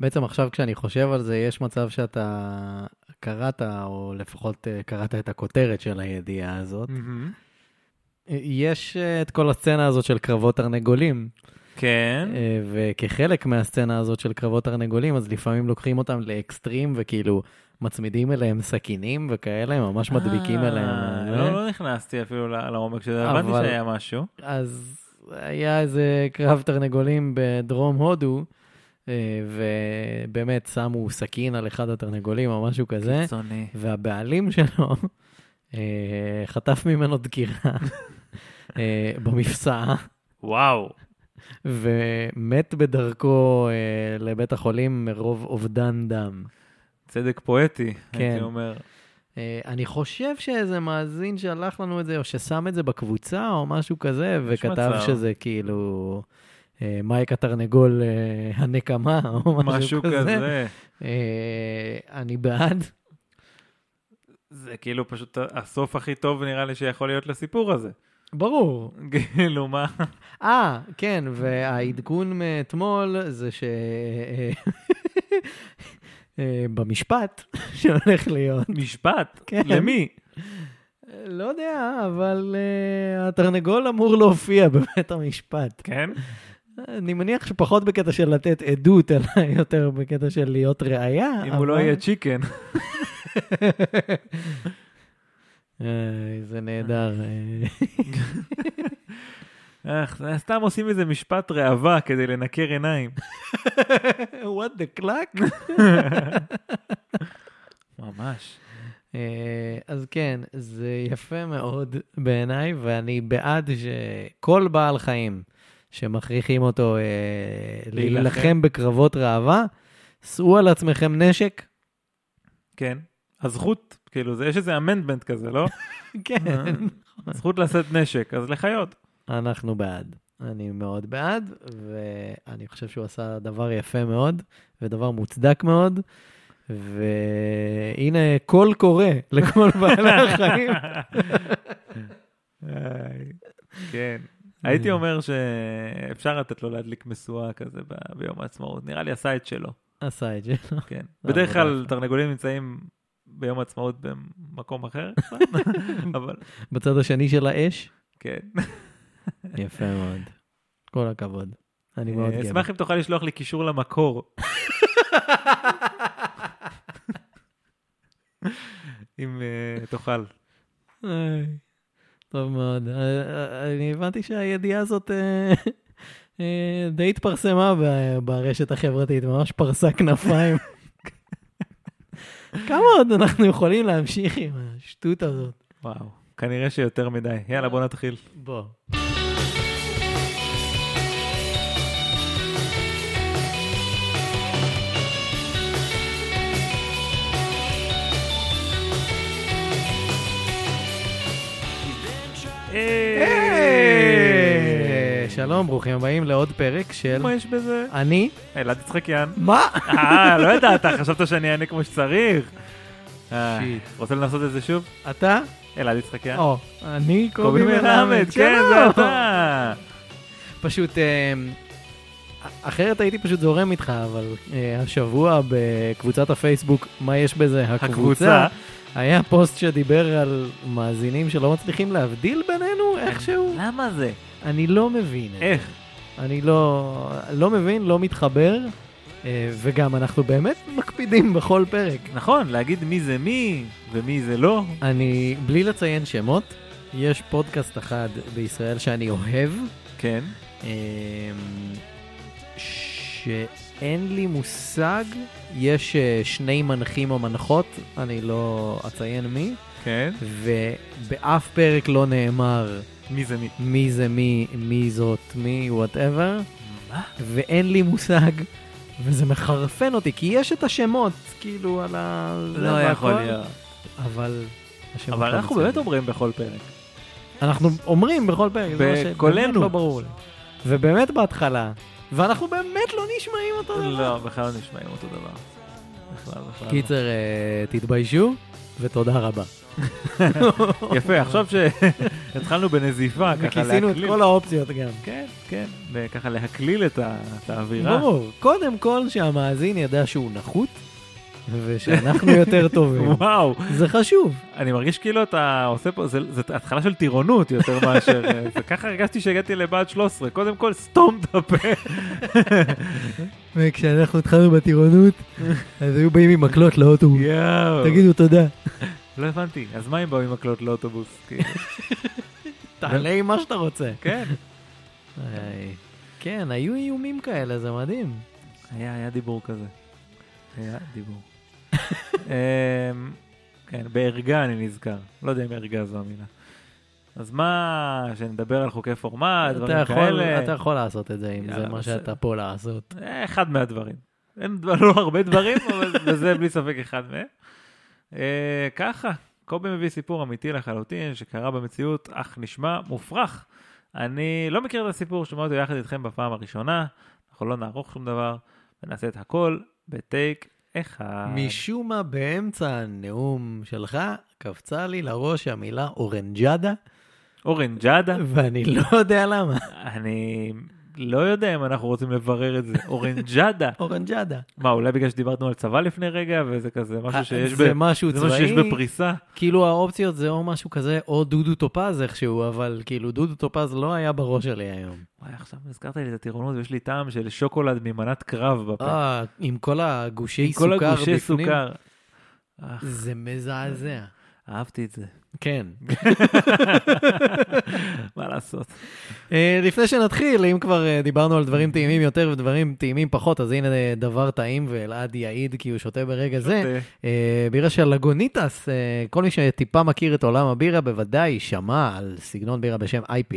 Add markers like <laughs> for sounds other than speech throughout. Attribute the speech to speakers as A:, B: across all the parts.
A: בעצם עכשיו כשאני חושב על זה, יש מצב שאתה קראת, או לפחות אה, קראת את הכותרת של הידיעה הזאת.
B: Mm.
A: אה, יש אה, את כל הסצנה הזאת של קרבות תרנגולים,
B: כן.
A: אה, וכחלק מהסצנה הזאת של קרבות תרנגולים, אז לפעמים לוקחים אותם לאקסטרים, וכאילו מצמידים אליהם סכינים וכאלה, ממש מדביקים
B: אה,
A: אליהם. אה,
B: לא, לא נכנסתי אפילו ל- לעומק של זה,
A: אבל-
B: הבנתי שהיה משהו.
A: אז היה איזה קרב תרנגולים בדרום הודו, אה, ובאמת שמו סכין על אחד התרנגולים או משהו כזה,
B: קיצוני.
A: והבעלים שלו אה, חטף ממנו דקירה אה, במפסע,
B: וואו.
A: ומת בדרכו אה, לבית החולים מרוב אובדן דם.
B: צדק פואטי,
A: כן.
B: הייתי
A: <laughs>
B: אומר.
A: אה, אני חושב שאיזה מאזין שלח לנו את זה, או ששם את זה בקבוצה, או משהו כזה, וכתב
B: מצב.
A: שזה כאילו... אה, מייק התרנגול אה, הנקמה, או
B: משהו כזה.
A: אה, אני בעד.
B: זה כאילו פשוט הסוף הכי טוב נראה לי שיכול להיות לסיפור הזה. <laughs>
A: ברור. <laughs>
B: כאילו מה?
A: אה, כן, והעדכון מאתמול זה ש... אה, אה, במשפט <laughs> שהולך להיות.
B: משפט?
A: כן.
B: למי?
A: אה, לא יודע, אבל אה, התרנגול אמור להופיע בבית המשפט.
B: כן?
A: אני מניח שפחות בקטע של לתת עדות, אלא יותר בקטע של להיות ראייה.
B: אם הוא לא
A: אבל-
B: יהיה צ'יקן.
A: אה, זה נהדר.
B: <laughs>
A: אה,
B: אה, סתם עושים איזה משפט ראווה כדי לנקר
A: <laughs>
B: עיניים.
A: What the clock?
B: ממש.
A: אה, אז כן, זה יפה מאוד בעיניי, ואני בעד שכל בעל חיים שמכריחים אותו אה,
B: להילחם.
A: להילחם בקרבות ראווה, שאו על עצמכם נשק.
B: כן. הזכות, כאילו, זה- יש איזה אמנדמנט כזה,
A: <laughs>
B: לא?
A: כן.
B: זכות לשאת נשק, אז לחיות.
A: אה, אנחנו בעד. אני מאוד בעד, ואני חושב שהוא עשה דבר יפה מאוד, ודבר מוצדק מאוד, והנה קול קורא לכל בעלי החיים.
B: איי, <laughs> כן.
A: <laughs>
B: הייתי אומר שאפשר לתת לו להדליק משואה כזה ב- ביום העצמאות. נראה לי עשה את שלו,
A: <laughs> עשה את זה.
B: כן.
A: זה
B: בדרך כלל
A: עבודה.
B: תרנגולים נמצאים ביום העצמאות במקום
A: <laughs>
B: אחר, נכון? <laughs> אבל
A: בצד השני של האש,
B: כן.
A: יפה מאוד. כל הכבוד. אני מאוד
B: אה,
A: גאה.
B: אשמח אם תוכל לשלוח לי קישור למקור.
A: <laughs>
B: אם אה, תוכל.
A: איי, טוב מאוד. אה, אה, אני הבנתי שהידיעה הזאת אה, אה, די התפרסמה ב- ברשת החברתית, ממש פרסה <laughs> כנפיים. כמה עוד אנחנו יכולים להמשיך עם השטות הזאת?
B: וואו, כנראה שיותר מדי. יאללה, בוא נתחיל.
A: בוא.
B: היי!
A: שלום, ברוכים הבאים לעוד פרק של
B: מה יש בזה?
A: אני,
B: אלעד יצחקיאן.
A: מה?
B: אה, לא ידעת, חשבת שאני אענה כמו שצריך. אה,
A: שיט.
B: רוצה לנסות את זה שוב?
A: אתה?
B: אלעד יצחקיאן.
A: או, אני
B: קובי מלמד, כן, זה
A: שלום.
B: אתה.
A: פשוט, אה, אחרת הייתי פשוט זורם איתך, אבל אה, השבוע בקבוצת הפייסבוק, מה יש בזה?
B: הקבוצה.
A: הקבוצה. היה פוסט שדיבר על מאזינים שלא מצליחים להבדיל בינינו איכשהו.
B: למה זה?
A: אני לא מבין. את זה.
B: איך?
A: אני לא, לא מבין, לא מתחבר, אה, וגם אנחנו באמת מקפידים בכל פרק.
B: נכון, להגיד מי זה מי ומי זה לא.
A: אני, בלי לציין שמות, יש פודקאסט אחד בישראל שאני אוהב,
B: כן.
A: אמ, שאין לי מושג, יש אה, שני מנחים או מנחות, אני לא אציין מי,
B: כן.
A: ובאף פרק לא נאמר
B: מי זה מי?
A: מי זה מי, מי זאת מי, וואטאבר,
B: מה?
A: ואין לי מושג, וזה מחרפן אותי, כי יש את השמות, כאילו, על ה... זה
B: לא
A: והכל,
B: יכול להיות.
A: אבל... השמות
B: אבל
A: לא
B: אנחנו
A: מצוינים.
B: באמת אומרים בכל פרק.
A: אנחנו אומרים בכל פרק, זה מה שבאמת
B: בקולנו.
A: לא ברור לי. ובאמת בהתחלה, ואנחנו באמת לא נשמעים אותו דבר.
B: לא, בכלל לא נשמעים אותו דבר. בכלל, בכלל.
A: קיצר, אה, תתביישו ותודה רבה.
B: יפה, עכשיו שהתחלנו בנזיפה, ככה
A: וכיסינו את
B: להקליל.
A: כל האופציות גם.
B: כן, כן, וככה להקליל את ה- את האווירה.
A: כן, ברור, קודם כל שהמאזין ידע שהוא נחות, ושאנחנו יותר <laughs> טובים.
B: וואו,
A: זה חשוב.
B: אני מרגיש כאילו אתה עושה פה, זה- זאת התחלה של טירונות יותר מאשר, אה, וככה הרגשתי שהגעתי לבה"ד 13, קודם כל סתום את הפה.
A: וכשאנחנו התחלנו <laughs> בטירונות, אז היו באים עם מקלות לאוטובוס.
B: יואו.
A: תגידו תודה.
B: לא הבנתי, אז מה אם באו עם מקלות לאוטובוס?
A: <laughs>
B: כאילו,
A: תעלה עם מה שאתה רוצה.
B: כן.
A: איי. כן, היו איומים כאלה, זה מדהים.
B: היה, היה דיבור כזה. היה דיבור.
A: <laughs>
B: אמ, כן, בערגה אני נזכר. לא יודע אם ערגה זו המילה. אז מה, שנדבר על חוקי פורמט,
A: אתה
B: אה, דברים
A: יכול-
B: כאלה?
A: אתה יכול לעשות את זה, אם זה
B: יאללה,
A: מה
B: בסדר.
A: שאתה פה לעשות.
B: אה, אחד מהדברים. אין דבר- לא הרבה
A: <laughs>
B: דברים, אבל זה בלי ספק אחד מהם. אה, ככה, קובי מביא סיפור אמיתי לחלוטין, שקרה במציאות, אך נשמע מופרך. אני לא מכיר את הסיפור, שמע אותו יחד איתכם בפעם הראשונה, אנחנו לא נערוך שום דבר, ונעשה את הכל בטייק אחד.
A: משום מה, באמצע הנאום שלך, קפצה לי לראש המילה אורנג'אדה,
B: אורנג'אדה,
A: ואני לא יודע למה.
B: אני לא יודע אם אנחנו רוצים
A: <laughs>
B: לברר את זה, אורנג'אדה.
A: אורנג'אדה.
B: מה, אולי בגלל שדיברנו על צבא לפני רגע, וזה כזה משהו שיש
A: אה, זה
B: ב-
A: משהו
B: זה משהו שיש
A: צבאי.
B: בפריסה?
A: כאילו האופציות זה או משהו כזה, או דודו טופז איכשהו, אבל כאילו דודו טופז לא היה בראש שלי היום.
B: וואי, עכשיו הזכרת לי את הטירונות ויש לי טעם של שוקולד ממנת קרב בפה.
A: אה, עם כל הגושי
B: עם כל
A: סוכר בפנים.
B: הגושי סוכר. אה,
A: זה מזעזע.
B: אהבתי את זה. <laughs>
A: כן.
B: מה לעשות?
A: אה, לפני שנתחיל, אם כבר אה, דיברנו על דברים טעימים יותר ודברים טעימים פחות, אז הנה אה, דבר טעים, ואלעד יעיד כי הוא שותה ברגע זה.
B: אה,
A: אה, בירה של לגוניטס, אה, כל מי שטיפה מכיר את עולם הבירה בוודאי שמע על סגנון בירה בשם IPA,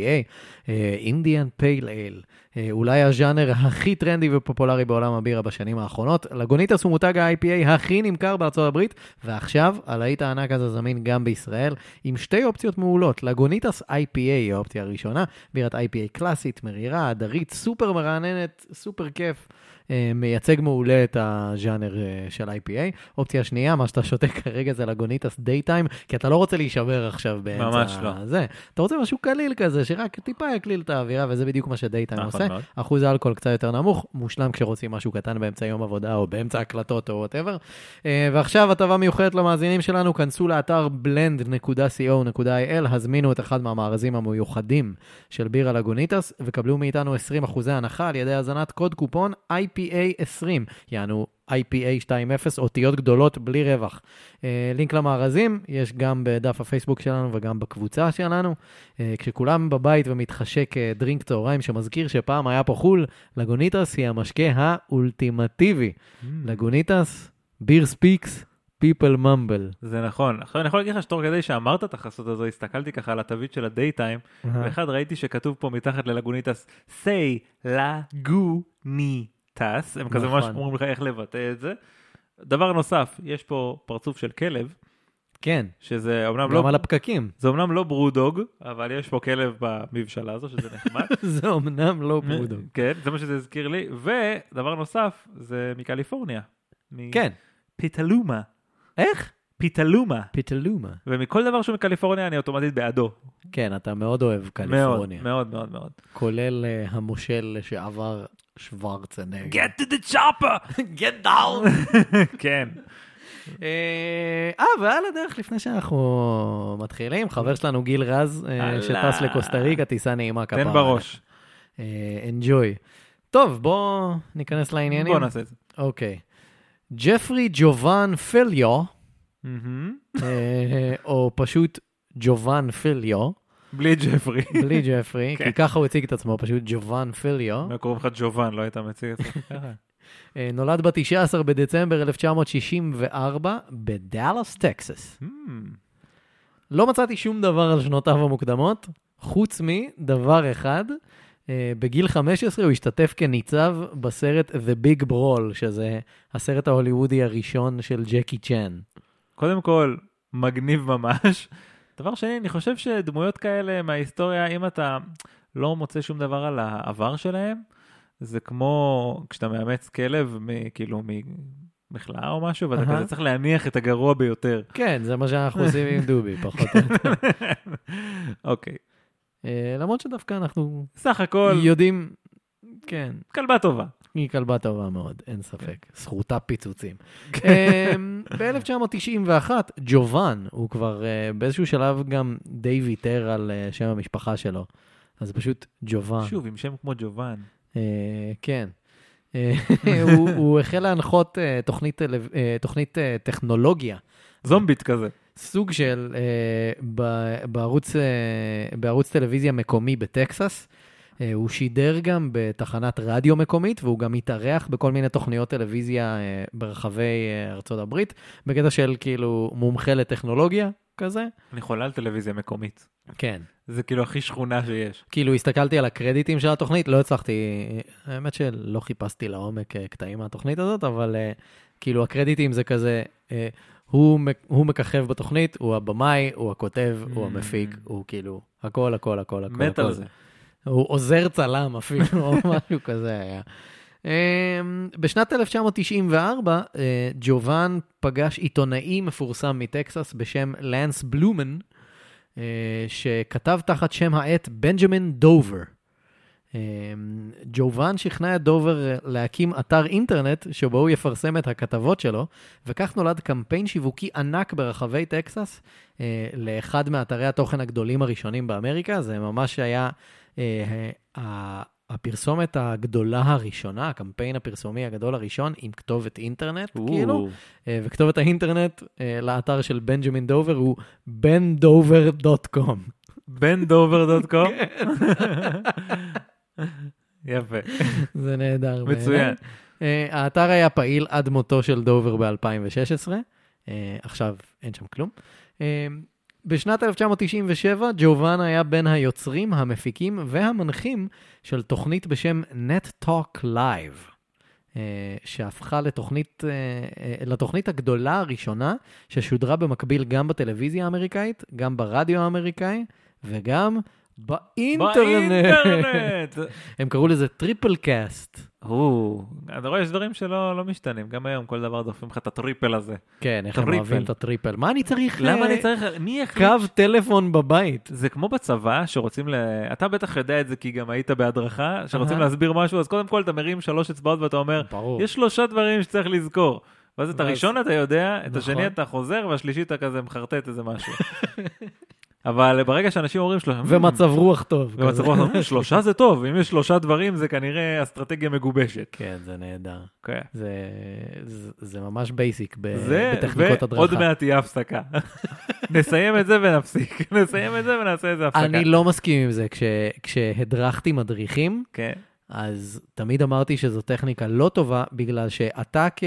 A: אה, Indian Pale Ale, אה, אולי הז'אנר הכי טרנדי ופופולרי בעולם הבירה בשנים האחרונות. לגוניטס הוא מותג ה-IPA הכי נמכר בארצות הברית, ועכשיו הלהיט הענק הזה זמין גם בישראל, עם שתי אופציות מעולות. לגוניטס IPA היא האופציה הראשונה, בירת IPA קלאסית, מרירה, הדרית, סופר מרעננת, סופר כיף. אה, מייצג מעולה את הז'אנר אה, של IPA. אופציה שנייה, מה שאתה שותה <laughs> כרגע זה לגוניטס דייטיים, כי אתה לא רוצה להישבר עכשיו באמצע...
B: ממש לא.
A: זה. אתה רוצה משהו קליל כזה, שרק טיפה יקליל את האווירה, וזה בדיוק מה שדייטיים
B: נכון
A: עושה.
B: מאוד.
A: אחוז האלכוהול קצת יותר נמוך, מושלם כשרוצים משהו קטן באמצע יום עבודה או באמצע הקלטות או וואטאבר. ועכשיו הטבה מיוחדת למאזינים שלנו, כנסו לאתר blend.co.il, הזמינו את אחד מהמארזים המיוחדים של בירה לגוניטס, וקבלו מאיתנו 20% הנחה על ידי הזנת קוד קופון IPA20, יענו IPA 2.0, אותיות גדולות בלי רווח. אה, לינק למארזים יש גם בדף הפייסבוק שלנו וגם בקבוצה שלנו. אה, כשכולם בבית ומתחשק אה, דרינק צהריים שמזכיר שפעם היה פה חול, לגוניטס היא המשקה האולטימטיבי. לגוניטס, ביר ספיקס, פיפל ממבל.
B: זה נכון. עכשיו אני יכול להגיד לך שתוך כדי שאמרת את החסות הזו, הסתכלתי ככה על התווית של הדייטיים,
A: אה.
B: ואחד ראיתי שכתוב פה מתחת ללגוניטס, say לגוניטס, הם כזה
A: נכון.
B: ממש אומרים לך איך לבטא את זה. דבר נוסף, יש פה פרצוף של כלב,
A: כן,
B: שזה אומנם לא
A: גם על הפקקים.
B: זה אמנם לא ברודוג, אבל יש פה כלב במבשלה הזו, שזה
A: <laughs>
B: נחמד.
A: זה אמנם לא ברודו.
B: כן, זה מה שזה הזכיר לי. ודבר נוסף, זה מקליפורניה. מ-
A: כן.
B: פיטלומה.
A: איך?
B: פיטלומה.
A: פיטלומה.
B: ומכל דבר שהוא מקליפורניה, אני אוטומטית בעדו.
A: כן, אתה מאוד אוהב קליפורניה.
B: מאוד, מאוד, מאוד, מאוד.
A: כולל אה, המושל לשעבר שוורצנגר.
B: Get to the chopper! <laughs>
A: get down!
B: כן.
A: אה, אה, ועל הדרך, לפני שאנחנו מתחילים, חבר שלנו גיל רז, אה,
B: הלאה.
A: שטס לקוסטה ריקה, טיסה נעימה כפרה.
B: תן בראש.
A: אה, enjoy. טוב, בואו ניכנס לעניינים.
B: בוא נעשה את זה.
A: אוקיי. ג'פרי ג'ובאן פליו,
B: מהמם.
A: אה,
B: <laughs>
A: או פשוט ג'ובאן פליו,
B: בלי
A: <laughs>
B: ג'פרי. <laughs>
A: בלי ג'פרי, כי
B: כן.
A: ככה הוא הציג את עצמו, פשוט ג'ובאן פליו.
B: מה קוראים לך ג'ובאן, לא היית מציג
A: <laughs>
B: את זה. ככה.
A: אה, נולד ב-19 בדצמבר 1964 בדאלאס, טקסס.
B: מהמם.
A: לא מצאתי שום דבר על שנותיו המוקדמות, חוץ מדבר אחד. אה, בגיל 15 הוא השתתף כניצב בסרט The Big Brawl, שזה הסרט ההוליוודי הראשון של ג'קי צ'ן.
B: קודם כל, מגניב ממש. <laughs> דבר שני, אני חושב שדמויות כאלה מההיסטוריה, אם אתה לא מוצא שום דבר על העבר שלהם, זה כמו כשאתה מאמץ כלב, מ- כאילו, מ- מחלאה או משהו, ואתה
A: אהה.
B: כזה צריך להניח את הגרוע <laughs> ביותר.
A: כן, זה מה שאנחנו עושים עם <laughs> דובי, פחות או יותר.
B: אוקיי.
A: אה, למרות שדווקא אנחנו
B: סך הכל,
A: יודעים, כן,
B: כלבה טובה.
A: היא כלבה טובה מאוד, אין ספק. זכותה פיצוצים. אה, ב-1991, ג'ובאן, הוא כבר אה, באיזשהו שלב גם די ויתר על אה, שם המשפחה שלו. אז פשוט ג'ובאן.
B: שוב, עם שם כמו ג'ובאן.
A: אה, כן. אה, <laughs> הוא- הוא החל להנחות אה, תוכנית טלו- אה, תוכנית אה, טכנולוגיה,
B: זומבית כזה.
A: סוג של אה, ב- בערוץ, אה, בערוץ טלוויזיה מקומי בטקסס. אה, הוא שידר גם בתחנת רדיו מקומית, והוא גם התארח בכל מיני תוכניות טלוויזיה אה, ברחבי אה, ארצות הברית, בקטע של כאילו מומחה לטכנולוגיה כזה.
B: אני חולה על טלוויזיה מקומית.
A: כן.
B: זה כאילו הכי שכונה שיש.
A: כאילו הסתכלתי על הקרדיטים של התוכנית, לא הצלחתי, האמת שלא חיפשתי לעומק אה, קטעים מהתוכנית הזאת, אבל אה, כאילו הקרדיטים זה כזה, אה, הוא, מק- הוא מככב בתוכנית, הוא הבמאי, הוא הכותב, הוא המפיק,
B: Mm.
A: הוא כאילו, הכל, הכל, הכל, הכל.
B: מת
A: הכל.
B: על זה.
A: הוא עוזר צלם אפילו, או <laughs> משהו כזה היה. אמ, בשנת 1994, אה, ג'ובאן פגש עיתונאי מפורסם מטקסס בשם לנס בלומן, אה, שכתב תחת שם העט בנג'מין דובר. אמ, ג'ובאן שכנע את דובר אה, להקים אתר אינטרנט שבו הוא יפרסם את הכתבות שלו, וכך נולד קמפיין שיווקי ענק ברחבי טקסס אה, לאחד מאתרי התוכן הגדולים הראשונים באמריקה. זה ממש היה אה, ה- הפרסומת הגדולה הראשונה, הקמפיין הפרסומי הגדול הראשון, עם כתובת אינטרנט, כאילו,
B: או,
A: אה, וכתובת האינטרנט אה, לאתר של בנג'מין דובר הוא bendover.com.
B: בן דובר דוט קום.
A: כן.
B: יפה,
A: <laughs> זה נהדר. בעיניי.
B: מצוין.
A: אה, האתר היה פעיל עד מותו של דובר ב-2016, אה, עכשיו אין שם כלום. אה, בשנת 1997, ג'ובאן היה בין היוצרים, המפיקים והמנחים של תוכנית בשם Net Talk Live, אה, שהפכה לתוכנית, אה, אה, לתוכנית הגדולה הראשונה ששודרה במקביל גם בטלוויזיה האמריקאית, גם ברדיו האמריקאי וגם אה, באינטרנט.
B: <laughs> באינטרנט.
A: <laughs> הם קראו לזה טריפל קאסט.
B: או, אתה רואה, יש דברים שלא לא משתנים. גם היום כל דבר דופים לך את הטריפל הזה.
A: כן, איך הם
B: טריפל.
A: אוהבים את הטריפל. מה אני צריך?
B: למה
A: אה,
B: אני צריך... מי יחליט?
A: קו טלפון בבית?
B: זה כמו בצבא שרוצים ל... אתה בטח יודע את זה כי גם היית בהדרכה, שרוצים
A: אהה.
B: להסביר משהו, אז קודם כל אתה מרים שלוש אצבעות ואתה אומר,
A: ברור.
B: יש שלושה דברים שצריך לזכור. ואז את
A: ואז-
B: הראשון אתה יודע, את
A: נכון.
B: השני אתה חוזר, והשלישי אתה כזה מחרטט איזה
A: <laughs>
B: משהו. אבל ברגע שאנשים אומרים שלושה...
A: ומצב רוח טוב.
B: ומצב
A: כזה.
B: רוח, "אמ, שלושה זה טוב, אם יש שלושה דברים זה כנראה אסטרטגיה מגובשת.
A: <laughs> כן, זה נהדר.
B: כן.
A: זה, זה, זה ממש בייסיק ב,
B: זה,
A: בטכניקות
B: ועוד
A: הדרכה.
B: מעט תהיה <laughs> הפסקה. נסיים את זה ונפסיק, <laughs> נסיים את זה ונעשה איזה הפסקה.
A: אני לא מסכים עם זה. כש, כשהדרכתי מדריכים,
B: כן.
A: אז תמיד אמרתי שזו טכניקה לא טובה, בגלל שאתה כ...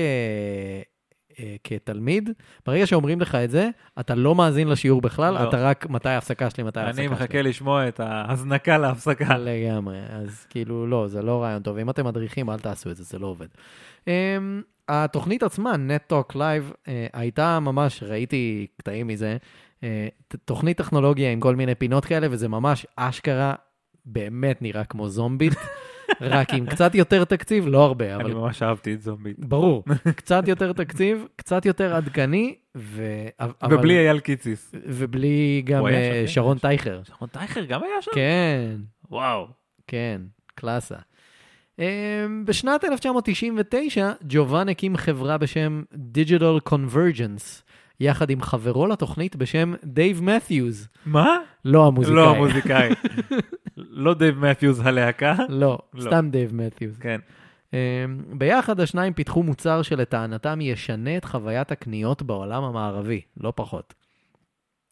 A: אה, כתלמיד, ברגע שאומרים לך את זה, אתה לא מאזין לשיעור בכלל,
B: לא.
A: אתה רק מתי ההפסקה שלי, מתי ההפסקה שלי.
B: אני מחכה לשמוע את ההזנקה להפסקה.
A: לגמרי, אז כאילו לא, זה לא רעיון טוב. אם אתם מדריכים, אל תעשו את זה, זה לא עובד. Um, התוכנית עצמה, נט-טוק לייב, uh, הייתה ממש, ראיתי קטעים מזה, uh, ת- תוכנית טכנולוגיה עם כל מיני פינות כאלה, וזה ממש אשכרה, באמת נראה כמו
B: <laughs>
A: זומבית, רק עם קצת יותר תקציב, לא הרבה,
B: אני
A: אבל
B: ממש אהבתי את זומבית.
A: ברור, קצת יותר תקציב, קצת יותר עדכני, ו... אבל-
B: ובלי אייל קיציס.
A: ובלי גם
B: הוא היה
A: אה,
B: שם, כן?
A: שרון טייכר.
B: שרון טייכר גם היה שם?
A: כן.
B: וואו.
A: כן, קלאסה. Um, בשנת 1999, ג'ובאן הקים חברה בשם Digital Convergence, יחד עם חברו לתוכנית בשם דייב מת'יוז,
B: מה?
A: לא המוזיקאי.
B: לא המוזיקאי. <laughs> לא דייב מת'יוז הלהקה.
A: לא,
B: לא.
A: סתם דייב מת'יוז.
B: כן.
A: Um, ביחד השניים פיתחו מוצר שלטענתם ישנה את חוויית הקניות בעולם המערבי, לא פחות.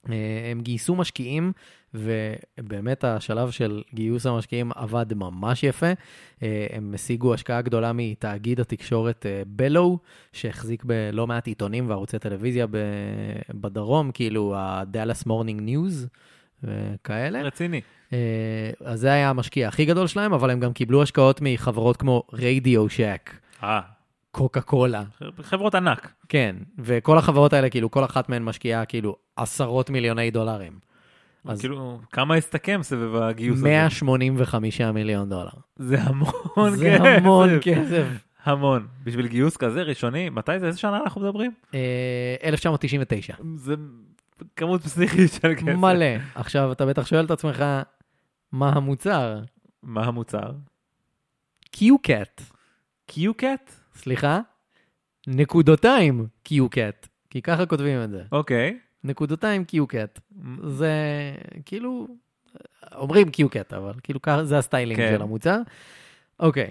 A: Uh, הם גייסו משקיעים, ובאמת השלב של גיוס המשקיעים עבד ממש יפה. Uh, הם השיגו השקעה גדולה מתאגיד התקשורת בלו, שהחזיק בלא מעט עיתונים וערוצי טלוויזיה ב- בדרום, כאילו ה-Dallas Morning News וכאלה.
B: רציני.
A: אה, אז זה היה המשקיע הכי גדול שלהם, אבל הם גם קיבלו השקעות מחברות כמו רדיו שק,
B: אה.
A: קוקה קולה,
B: חברות ענק.
A: כן, וכל החברות האלה, כאילו, כל אחת מהן משקיעה כאילו עשרות מיליוני דולרים. אז-
B: כאילו, כמה הסתכם סבב הגיוס הזה?
A: 185 מיליון דולר.
B: זה המון כסף.
A: זה המון כסף.
B: המון. בשביל גיוס כזה ראשוני, מתי זה? איזה שנה אנחנו מדברים?
A: אה, 1999.
B: זה כמות פסיכית של כסף.
A: מלא. עכשיו, אתה בטח שואל את עצמך, מה המוצר?
B: מה המוצר?
A: קיוקט.
B: קיוקט?
A: סליחה? נקודותיים קיוקט. כי ככה כותבים את זה.
B: אוקיי.
A: נקודותיים קיוקט. זה כאילו, אומרים קיוקט, אבל כאילו ככה- זה הסטיילינג
B: כן.
A: של המוצר. אוקיי.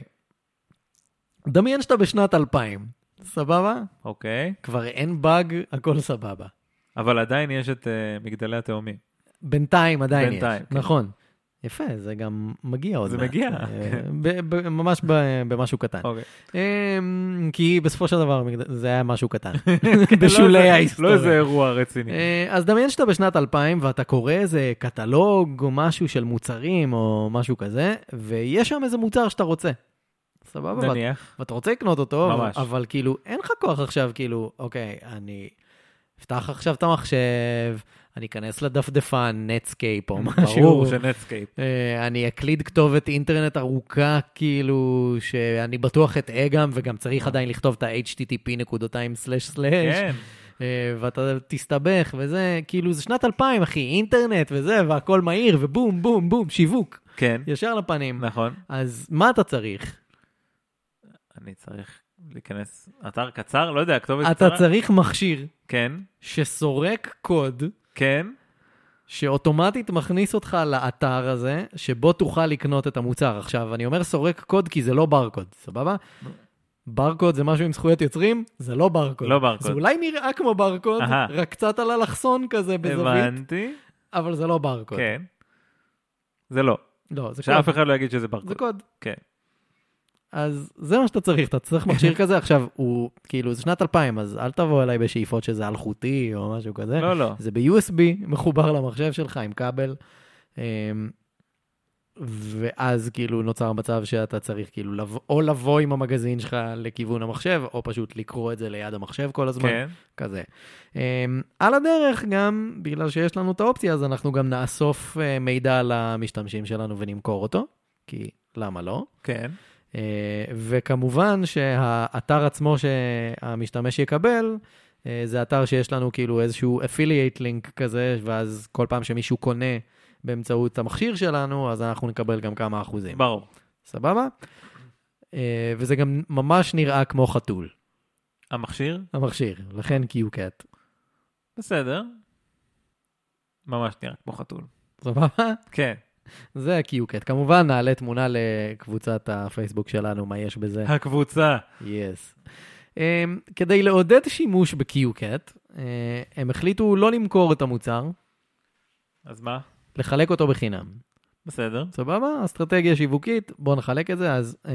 A: דמיין שאתה בשנת 2000, סבבה?
B: אוקיי.
A: כבר אין באג, הכל סבבה.
B: אבל עדיין יש את אה, מגדלי התאומים.
A: בינתיים עדיין
B: בינתיים,
A: יש,
B: כן.
A: נכון. יפה, זה גם מגיע עוד
B: זה
A: מעט.
B: מגיע,
A: אה,
B: כן.
A: ב- ב- ממש ב- במשהו קטן.
B: אוקיי.
A: אמ, כי בסופו של דבר מגד- זה היה משהו
B: <laughs>
A: קטן.
B: לא
A: <laughs> בשולי
B: איזה- לא
A: ההיסטוריה.
B: איזה אירוע רציני.
A: אה, אז דמיין שאתה בשנת 2000 ואתה קורא איזה קטלוג או משהו של מוצרים או משהו כזה, ויש שם איזה מוצר שאתה רוצה. סבבה? ואת-
B: נניח.
A: ואתה רוצה לקנות אותו, אבל-
B: ממש.
A: אבל כאילו אין לך כוח עכשיו, כאילו, אוקיי, אני אפתח עכשיו את המחשב, אני אכנס לדפדפן, נטסקייפ או משהו.
B: ברור שנטסקייפ.
A: אה, אני אקליד כתובת אינטרנט ארוכה, כאילו, שאני בטוח אטעה גם, וגם צריך עדיין לכתוב את ה-http נקודתיים סלאש סלאש,
B: כן.
A: אה, ואתה תסתבך וזה, כאילו, זה שנת 2000, אחי, אינטרנט וזה, והכל מהיר, ובום, בום, בום, שיווק,
B: כן.
A: ישר לפנים.
B: נכון.
A: אז מה אתה צריך?
B: אני צריך להיכנס אתר קצר, לא יודע, כתובת
A: אתה
B: קצרה.
A: צריך מכשיר
B: כן.
A: שסורק קוד,
B: כן.
A: שאוטומטית מכניס אותך לאתר הזה, שבו תוכל לקנות את המוצר. עכשיו, אני אומר סורק קוד כי זה לא ברקוד, סבבה?
B: נו.
A: ברקוד זה משהו עם זכויות יוצרים, זה לא ברקוד.
B: לא ברקוד.
A: זה אולי נראה כמו ברקוד,
B: אהה.
A: רק קצת על אלכסון כזה בזווית,
B: הבנתי.
A: אבל זה לא ברקוד.
B: כן. זה לא.
A: לא, זה
B: שאף
A: קוד.
B: אחד לא יגיד שזה
A: זה
B: ברקוד.
A: קוד.
B: כן.
A: אז זה מה שאתה צריך, אתה צריך מכשיר כזה. עכשיו, הוא, כאילו, זה שנת 2000, אז אל תבוא אליי בשאיפות שזה אלחוטי או משהו כזה.
B: לא, לא.
A: זה ב-USB, מחובר למחשב שלך עם כבל. אמ, ואז כאילו נוצר מצב שאתה צריך כאילו לב... או לבוא עם המגזין שלך לכיוון המחשב, או פשוט לקרוא את זה ליד המחשב כל הזמן,
B: כן.
A: כזה. אמ, על הדרך גם, בגלל שיש לנו את האופציה, אז אנחנו גם נאסוף אה, מידע למשתמשים שלנו ונמכור אותו, כי למה לא?
B: כן.
A: אה, וכמובן שהאתר עצמו שהמשתמש יקבל, אה, זה אתר שיש לנו כאילו איזשהו affiliate link כזה, ואז כל פעם שמישהו קונה באמצעות המכשיר שלנו, אז אנחנו נקבל גם כמה אחוזים.
B: ברור.
A: סבבה? אה, וזה גם ממש נראה כמו חתול,
B: המכשיר?
A: המכשיר, לכן קיוקט.
B: בסדר. ממש נראה כמו חתול.
A: סבבה?
B: כן.
A: זה הקיוקט. כמובן, נעלה תמונה לקבוצת הפייסבוק שלנו, מה יש בזה.
B: הקבוצה.
A: יס. Um, כדי לעודד שימוש בקיוקט, uh, הם החליטו לא למכור את המוצר,
B: אז מה?
A: לחלק אותו בחינם.
B: בסדר.
A: סבבה? אסטרטגיה שיווקית, בואו נחלק את זה. אז uh,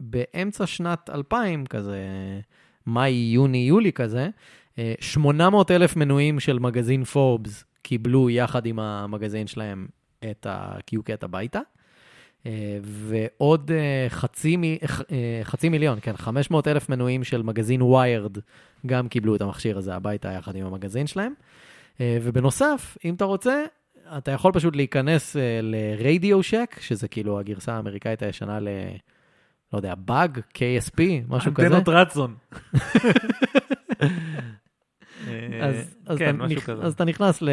A: באמצע שנת 2000, כזה, מאי, יוני, יולי כזה, uh, 800 אלף מנויים של מגזין פורבס קיבלו יחד עם המגזין שלהם את הקיוקט הביתה. אה, ועוד אה, חצי, מ- אה, חצי מיליון, כן, 500 אלף מנויים של מגזין ויירד גם קיבלו את המכשיר הזה הביתה יחד עם המגזין שלהם. אה, ובנוסף, אם אתה רוצה, אתה יכול פשוט להיכנס אה, לרדיו שק, שזה כאילו הגרסה האמריקאית הישנה ל... לא יודע, באג, KSP, משהו כזה.
B: אנטנות
A: <laughs>
B: רצון. אה,
A: אז, אז,
B: כן,
A: אתה
B: משהו
A: נכ...
B: כזה.
A: אז אתה נכנס ל...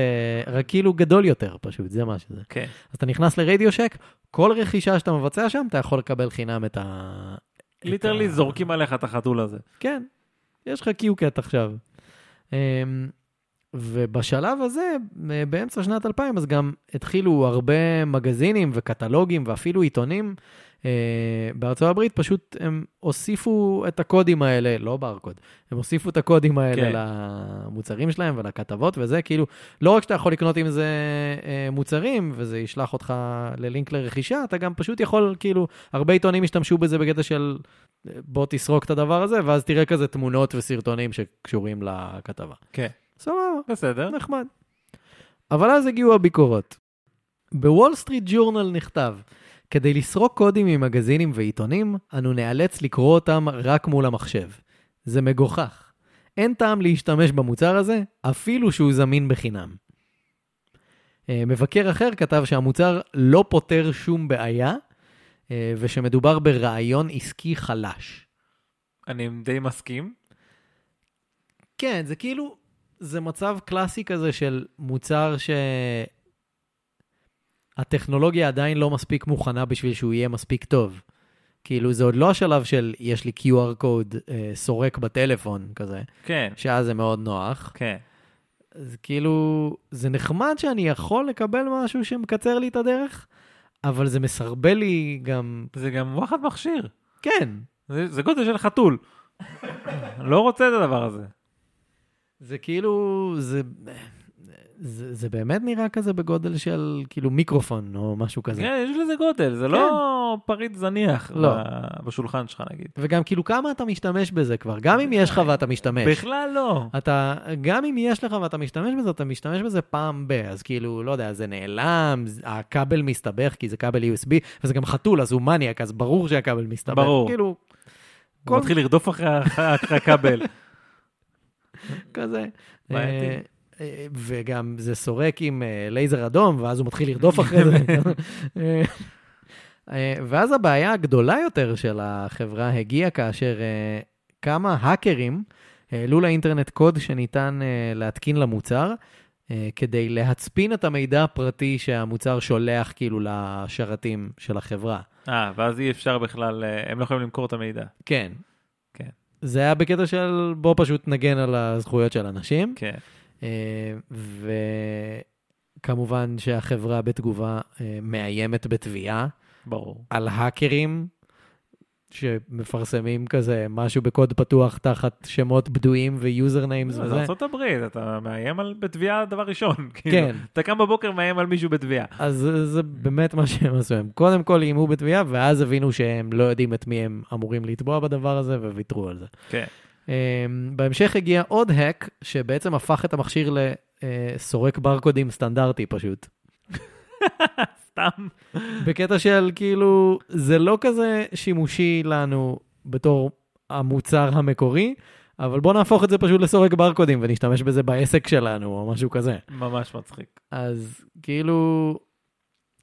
A: רק כאילו גדול יותר פשוט, זה מה שזה.
B: כן.
A: אז אתה נכנס לרדיו שק, כל רכישה שאתה מבצע שם, אתה יכול לקבל חינם את ה... את
B: ליטרלי
A: ה-
B: זורקים עליך את החתול הזה.
A: כן, יש לך קיוקט עכשיו. אמ, ובשלב הזה, אה, באמצע שנת 2000, אז גם התחילו הרבה מגזינים וקטלוגים ואפילו עיתונים אה, בארצות הברית, פשוט הם הוסיפו את הקודים האלה, לא ברקוד, הם הוסיפו את הקודים האלה
B: כן.
A: כן. למוצרים שלהם ולכתבות וזה, כאילו, לא רק שאתה יכול לקנות עם זה אה, מוצרים, וזה ישלח אותך ללינק לרכישה, אתה גם פשוט יכול, כאילו, הרבה עיתונים השתמשו בזה בקטע של אה, בוא תסרוק את הדבר הזה, ואז תראה כזה תמונות וסרטונים שקשורים לכתבה.
B: כן.
A: סבבה.
B: בסדר.
A: נחמד. אבל אז הגיעו הביקורות. בוול סטריט ג'ורנל נכתב, כדי לסרוק קודים ממגזינים ועיתונים, אנו נאלץ לקרוא אותם רק מול המחשב. זה מגוחך. אין טעם להשתמש במוצר הזה, אפילו שהוא זמין בחינם. אה, מבקר אחר כתב שהמוצר לא פותר שום בעיה, אה, ושמדובר ברעיון עסקי חלש.
B: אני די מסכים.
A: כן, זה כאילו, זה מצב קלאסי כזה של מוצר שהטכנולוגיה עדיין לא מספיק מוכנה בשביל שהוא יהיה מספיק טוב. כאילו, זה עוד לא השלב של יש לי QR קוד אה, סורק בטלפון כזה,
B: כן,
A: שאז זה מאוד נוח.
B: כן.
A: אז כאילו, זה נחמד שאני יכול לקבל משהו שמקצר לי את הדרך, אבל זה מסרבל לי גם...
B: זה גם וואחד מכשיר.
A: כן,
B: זה, זה גודל של חתול. <laughs> לא רוצה את הדבר הזה.
A: זה כאילו, זה, זה, זה באמת נראה כזה בגודל של כאילו מיקרופון או משהו כזה.
B: כן, יש לזה גודל, זה לא פריט זניח
A: לא.
B: ב- בשולחן שלך נגיד.
A: וגם כאילו כמה אתה משתמש בזה כבר, גם אם יש לך ואתה משתמש.
B: בכלל לא.
A: אתה, גם אם יש לך ואתה משתמש בזה, אתה משתמש בזה פעם ב... אז כאילו, לא יודע, זה נעלם, זה- הכבל מסתבך כי זה כבל USB, וזה גם חתול, אז הוא מניאק, אז ברור שהכבל מסתבך.
B: ברור.
A: כאילו,
B: הוא מתחיל לרדוף אחרי ה- אחרי הכבל. <laughs>
A: כזה.
B: בעייתי.
A: אה, אה, וגם זה סורק עם אה, לייזר אדום, ואז הוא מתחיל לרדוף אחרי <laughs> זה. אה, אה, ואז הבעיה הגדולה יותר של החברה הגיעה כאשר אה, כמה האקרים העלו לאינטרנט קוד שניתן אה, להתקין למוצר. אה, כדי להצפין את המידע הפרטי שהמוצר שולח כאילו לשרתים של החברה.
B: אה, ואז אי אפשר בכלל, אה, הם לא יכולים למכור את המידע.
A: כן.
B: כן.
A: זה היה בקטע של בוא פשוט נגן על הזכויות של אנשים.
B: כן.
A: אה, וכמובן שהחברה בתגובה אה, מאיימת בתביעה
B: ברור.
A: על האקרים שמפרסמים כזה משהו בקוד פתוח תחת שמות בדויים ויוזר ניימס
B: לא, זה
A: וזה.
B: ארצות הברית, אתה מאיים על בתביעה דבר ראשון. <laughs> כאילו,
A: כן,
B: אתה קם בבוקר מאיים על מישהו בתביעה.
A: אז זה- זה באמת מה שהם עשו, הם קודם כל איימו בתביעה, ואז הבינו שהם לא יודעים את מי הם אמורים לתבוע בדבר הזה, וויתרו על זה.
B: כן.
A: אמ, בהמשך הגיע עוד האק, שבעצם הפך את המכשיר לסורק ברקודים סטנדרטי פשוט.
B: סתם.
A: בקטע של כאילו, זה לא כזה שימושי לנו בתור המוצר המקורי, אבל בוא נהפוך את זה פשוט לסורק ברקודים ונשתמש בזה בעסק שלנו או משהו כזה.
B: <laughs> ממש מצחיק.
A: אז כאילו,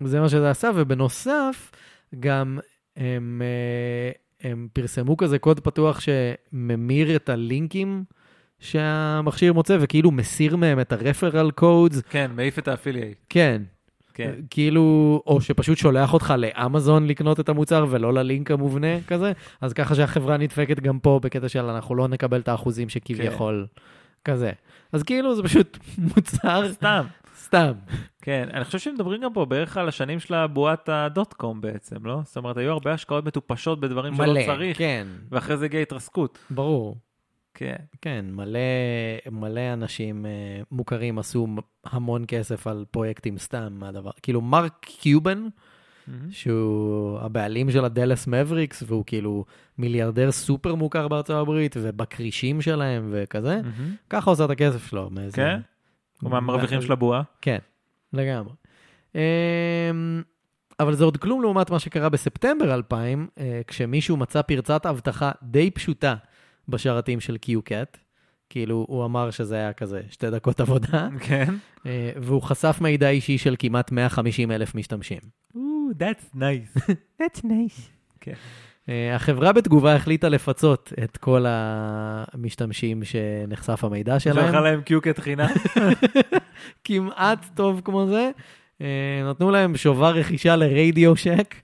A: זה מה שזה עשה, ובנוסף, גם הם, אה, הם פרסמו כזה קוד פתוח שממיר את הלינקים שהמכשיר מוצא, וכאילו מסיר מהם את הרפרל קודס.
B: כן, מעיף את האפיליי.
A: כן,
B: כן.
A: כאילו, או שפשוט שולח אותך לאמזון לקנות את המוצר ולא ללינק המובנה כזה, אז ככה שהחברה נדפקת גם פה בקטע של אנחנו לא נקבל את האחוזים שכביכול
B: כן.
A: כזה. אז כאילו זה פשוט <laughs> מוצר
B: סתם.
A: סתם.
B: אה, <laughs> כן, אני חושב שמדברים גם פה בערך על השנים של הבועת הדוט קום בעצם, לא? זאת אומרת, היו הרבה השקעות מטופשות בדברים שלא
A: מלא,
B: צריך,
A: כן,
B: ואחרי זה הגיעה התרסקות.
A: ברור.
B: כן.
A: כן, מלא, מלא אנשים אה, מוכרים עשו המון כסף על פרויקטים סתם מהדבר. כאילו מרק קיובן, שהוא הבעלים של הדלס מבריקס, והוא כאילו מיליארדר סופר מוכר בארצות הברית, ובכרישים שלהם וכזה,
B: מהמם.
A: ככה עושה את הכסף שלו. מאיזה...
B: Mm. כן? הוא מהמרוויחים של הבועה.
A: כן, לגמרי. אמ, אבל זה עוד כלום לעומת מה שקרה בספטמבר 2000, אה, כשמישהו מצא פרצת אבטחה די פשוטה בשרתים של קיו-קאט. כאילו, הוא אמר שזה היה כזה שתי דקות עבודה,
B: כן.
A: אה, והוא חשף מידע אישי של כמעט 150 אלף משתמשים.
B: <laughs> Ooh, that's nice. <laughs>
A: That's nice.
B: כן.
A: אה, החברה בתגובה החליטה לפצות את כל המשתמשים שנחשף המידע שלהם.
B: שלחה להם קיוקט חינם. <laughs>
A: כמעט טוב כמו זה. אה, נתנו להם שובר רכישה לרדיו שק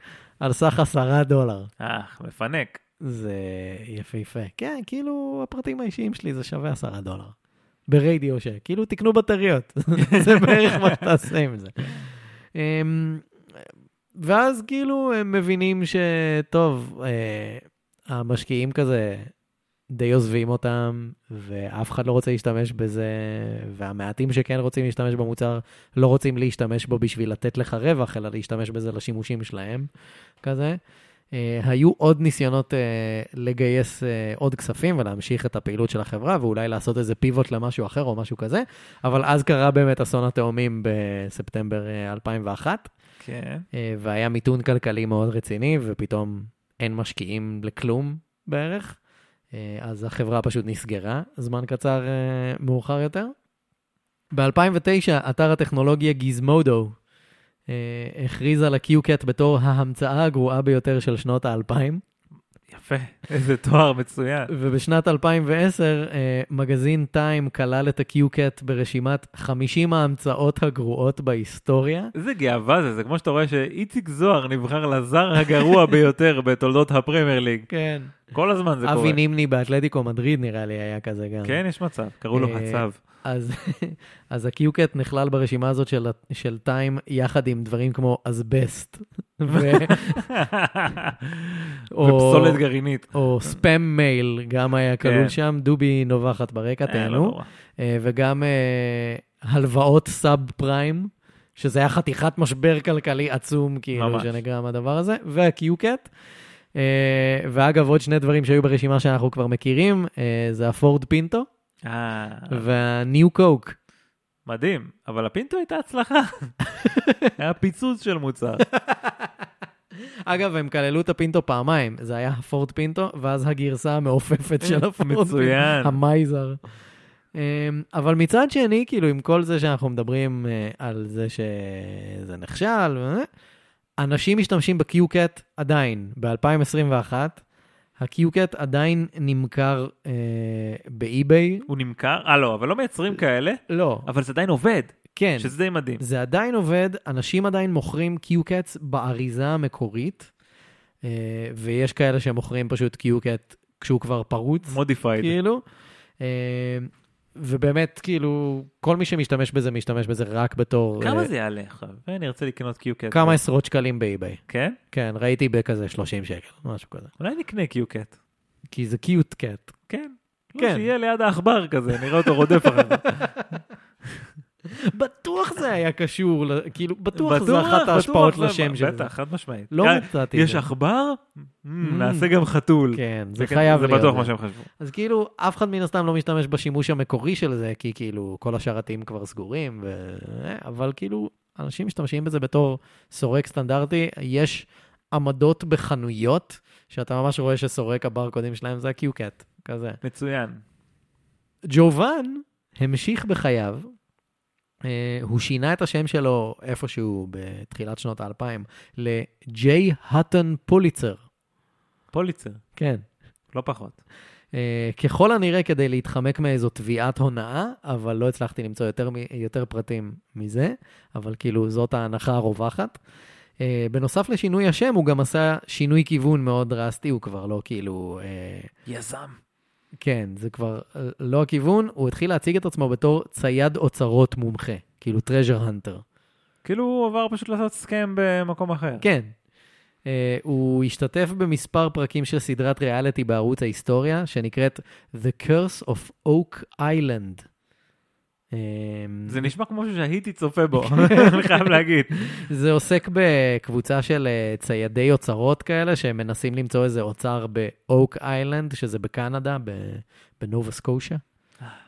A: על סך עשרה דולר.
B: אה, מפנק.
A: זה יפהפה. כן, כאילו הפרטים האישיים שלי זה שווה עשרה דולר. ברדיו שק. כאילו תקנו בטריות. <laughs> זה בערך מה שתעשה עם זה. אה, ואז כאילו הם מבינים שטוב, אה, המשקיעים כזה די עוזבים אותם, ואף אחד לא רוצה להשתמש בזה, והמעטים שכן רוצים להשתמש במוצר לא רוצים להשתמש בו בשביל לתת לך רווח, אלא להשתמש בזה לשימושים שלהם, כזה. אה, היו עוד ניסיונות אה, לגייס אה, עוד כספים ולהמשיך את הפעילות של החברה, ואולי לעשות איזה פיבוט למשהו אחר או משהו כזה, אבל אז קרה באמת אסון התאומים בספטמבר אה, 2001.
B: כן.
A: אה, והיה מיתון כלכלי מאוד רציני, ופתאום אין משקיעים לכלום בערך. אה, אז החברה פשוט נסגרה זמן קצר אה, מאוחר יותר. ב-2009, אתר הטכנולוגיה אה, גיזמודו הכריז על ה-QCAT בתור ההמצאה הגרועה ביותר של שנות האלפיים.
B: יפה, איזה תואר מצוין.
A: ובשנת 2010, אה, מגזין טיים כלל את הקיוקט ברשימת 50 ההמצאות הגרועות בהיסטוריה.
B: איזה גאווה זה, זה כמו שאתה רואה שאיציק זוהר נבחר לזר <laughs> הגרוע ביותר בתולדות הפרמייר ליג.
A: כן.
B: כל הזמן זה קורה.
A: אבי נימני באתלטיקו מדריד נראה לי היה כזה גם.
B: כן, יש מצב, קראו לו
A: אה,
B: <laughs> מצב.
A: אז, <laughs> אז הקיוקט נכלל ברשימה הזאת של, ה- של טיים יחד עם דברים כמו אזבסט. <laughs>
B: <laughs>
A: ו- או-
B: ופסולת גרעינית.
A: או ספאם מייל, גם היה כלול
B: כן.
A: שם, דובי נובחת ברקע,
B: אה, לא
A: תהנו.
B: נורא.
A: אה, וגם אה, הלוואות סאב פריים, שזה היה חתיכת משבר כלכלי עצום, כאילו,
B: ממש.
A: שנגרם הדבר הזה, והקיוקט. אה, ואגב, עוד שני דברים שהיו ברשימה שאנחנו כבר מכירים, אה, זה הפורד פינטו
B: אה,
A: והניו קוק.
B: מדהים, אבל הפינטו הייתה <laughs> הצלחה. היה פיצוץ של מוצר.
A: אגב, הם כללו את הפינטו פעמיים, זה היה הפורד פינטו, ואז הגרסה המעופפת של הפורד פינטו.
B: מצוין.
A: המייזר. אמ, אבל מצד שני, כאילו, עם כל זה שאנחנו מדברים אה, על זה שזה נכשל, אה, אנשים משתמשים ב-QCAT עדיין, ב-2021. ה-QCAT עדיין נמכר אה, באי-ביי.
B: הוא נמכר? אה, לא, אבל לא מייצרים כאלה,
A: לא,
B: אבל זה עדיין עובד,
A: כן.
B: שזה די מדהים.
A: זה עדיין עובד, אנשים עדיין מוכרים קיוקטס באריזה המקורית, אה, ויש כאלה שמוכרים פשוט קיוקט כשהוא כבר פרוץ,
B: מודיפייד.
A: כאילו. אה, ובאמת, כאילו, כל מי שמשתמש בזה, משתמש בזה רק בתור...
B: כמה
A: אה,
B: זה יעלה עכשיו? אני רוצה לקנות קיוקט.
A: כמה עשרות שקלים באי-ביי.
B: כן?
A: כן, ראיתי בכזה 30 שקל, משהו כזה.
B: אולי נקנה קיוקט.
A: כי זה קיוט קט.
B: כן. לא,
A: כן.
B: שיהיה ליד העכבר כזה, נראה אותו רודף אחריו.
A: בטוח זה היה קשור, ל- כאילו, <laughs> בטוח זה
B: בטוח,
A: אחת
B: בטוח,
A: ההשפעות
B: זה-
A: לשם של זה.
B: בטח, חד משמעית.
A: לא
B: אה,
A: מצאתי את
B: יש
A: זה.
B: עכבר? מ, נעשה גם חתול.
A: כן, זה
B: כן-
A: חייב להיות.
B: זה בטוח מה שהם חשבו.
A: אז כאילו, אף אחד מן הסתם לא משתמש בשימוש המקורי של זה, כי כאילו, כל השרתים כבר סגורים, ו... אבל כאילו, אנשים משתמשים בזה בתור סורק סטנדרטי. יש עמדות בחנויות, שאתה ממש רואה שסורק הברקודים שלהם זה הקיוקט, כזה.
B: מצוין.
A: ג'ובאן המשיך בחייו, אה, הוא שינה את השם שלו איפשהו בתחילת שנות האלפיים לג'יי האטון פוליצר.
B: פוליצר,
A: כן.
B: לא פחות.
A: אה, ככל הנראה כדי להתחמק מאיזו תביעת הונאה, אבל לא הצלחתי למצוא יותר, מ- יותר פרטים מזה, אבל כאילו זאת ההנחה הרווחת. אה, בנוסף לשינוי השם, הוא גם עשה שינוי כיוון מאוד דרסטי, הוא כבר לא כאילו... אה,
B: יזם.
A: כן, זה כבר אה, לא הכיוון, הוא התחיל להציג את עצמו בתור צייד אוצרות מומחה, כאילו טרז'ר הנטר.
B: כאילו הוא עבר פשוט לעשות סכם במקום אחר.
A: כן. Uh, הוא השתתף במספר פרקים של סדרת ריאליטי בערוץ ההיסטוריה, שנקראת The Curse of Oak Island. Um,
B: זה נשמע כמו משהו שהייתי צופה בו,
A: כן.
B: <laughs> אני חייב להגיד.
A: זה עוסק בקבוצה של אה, ציידי אוצרות כאלה, שמנסים למצוא איזה אוצר באוק איילנד, שזה בקנדה, ב- בנובה סקושה.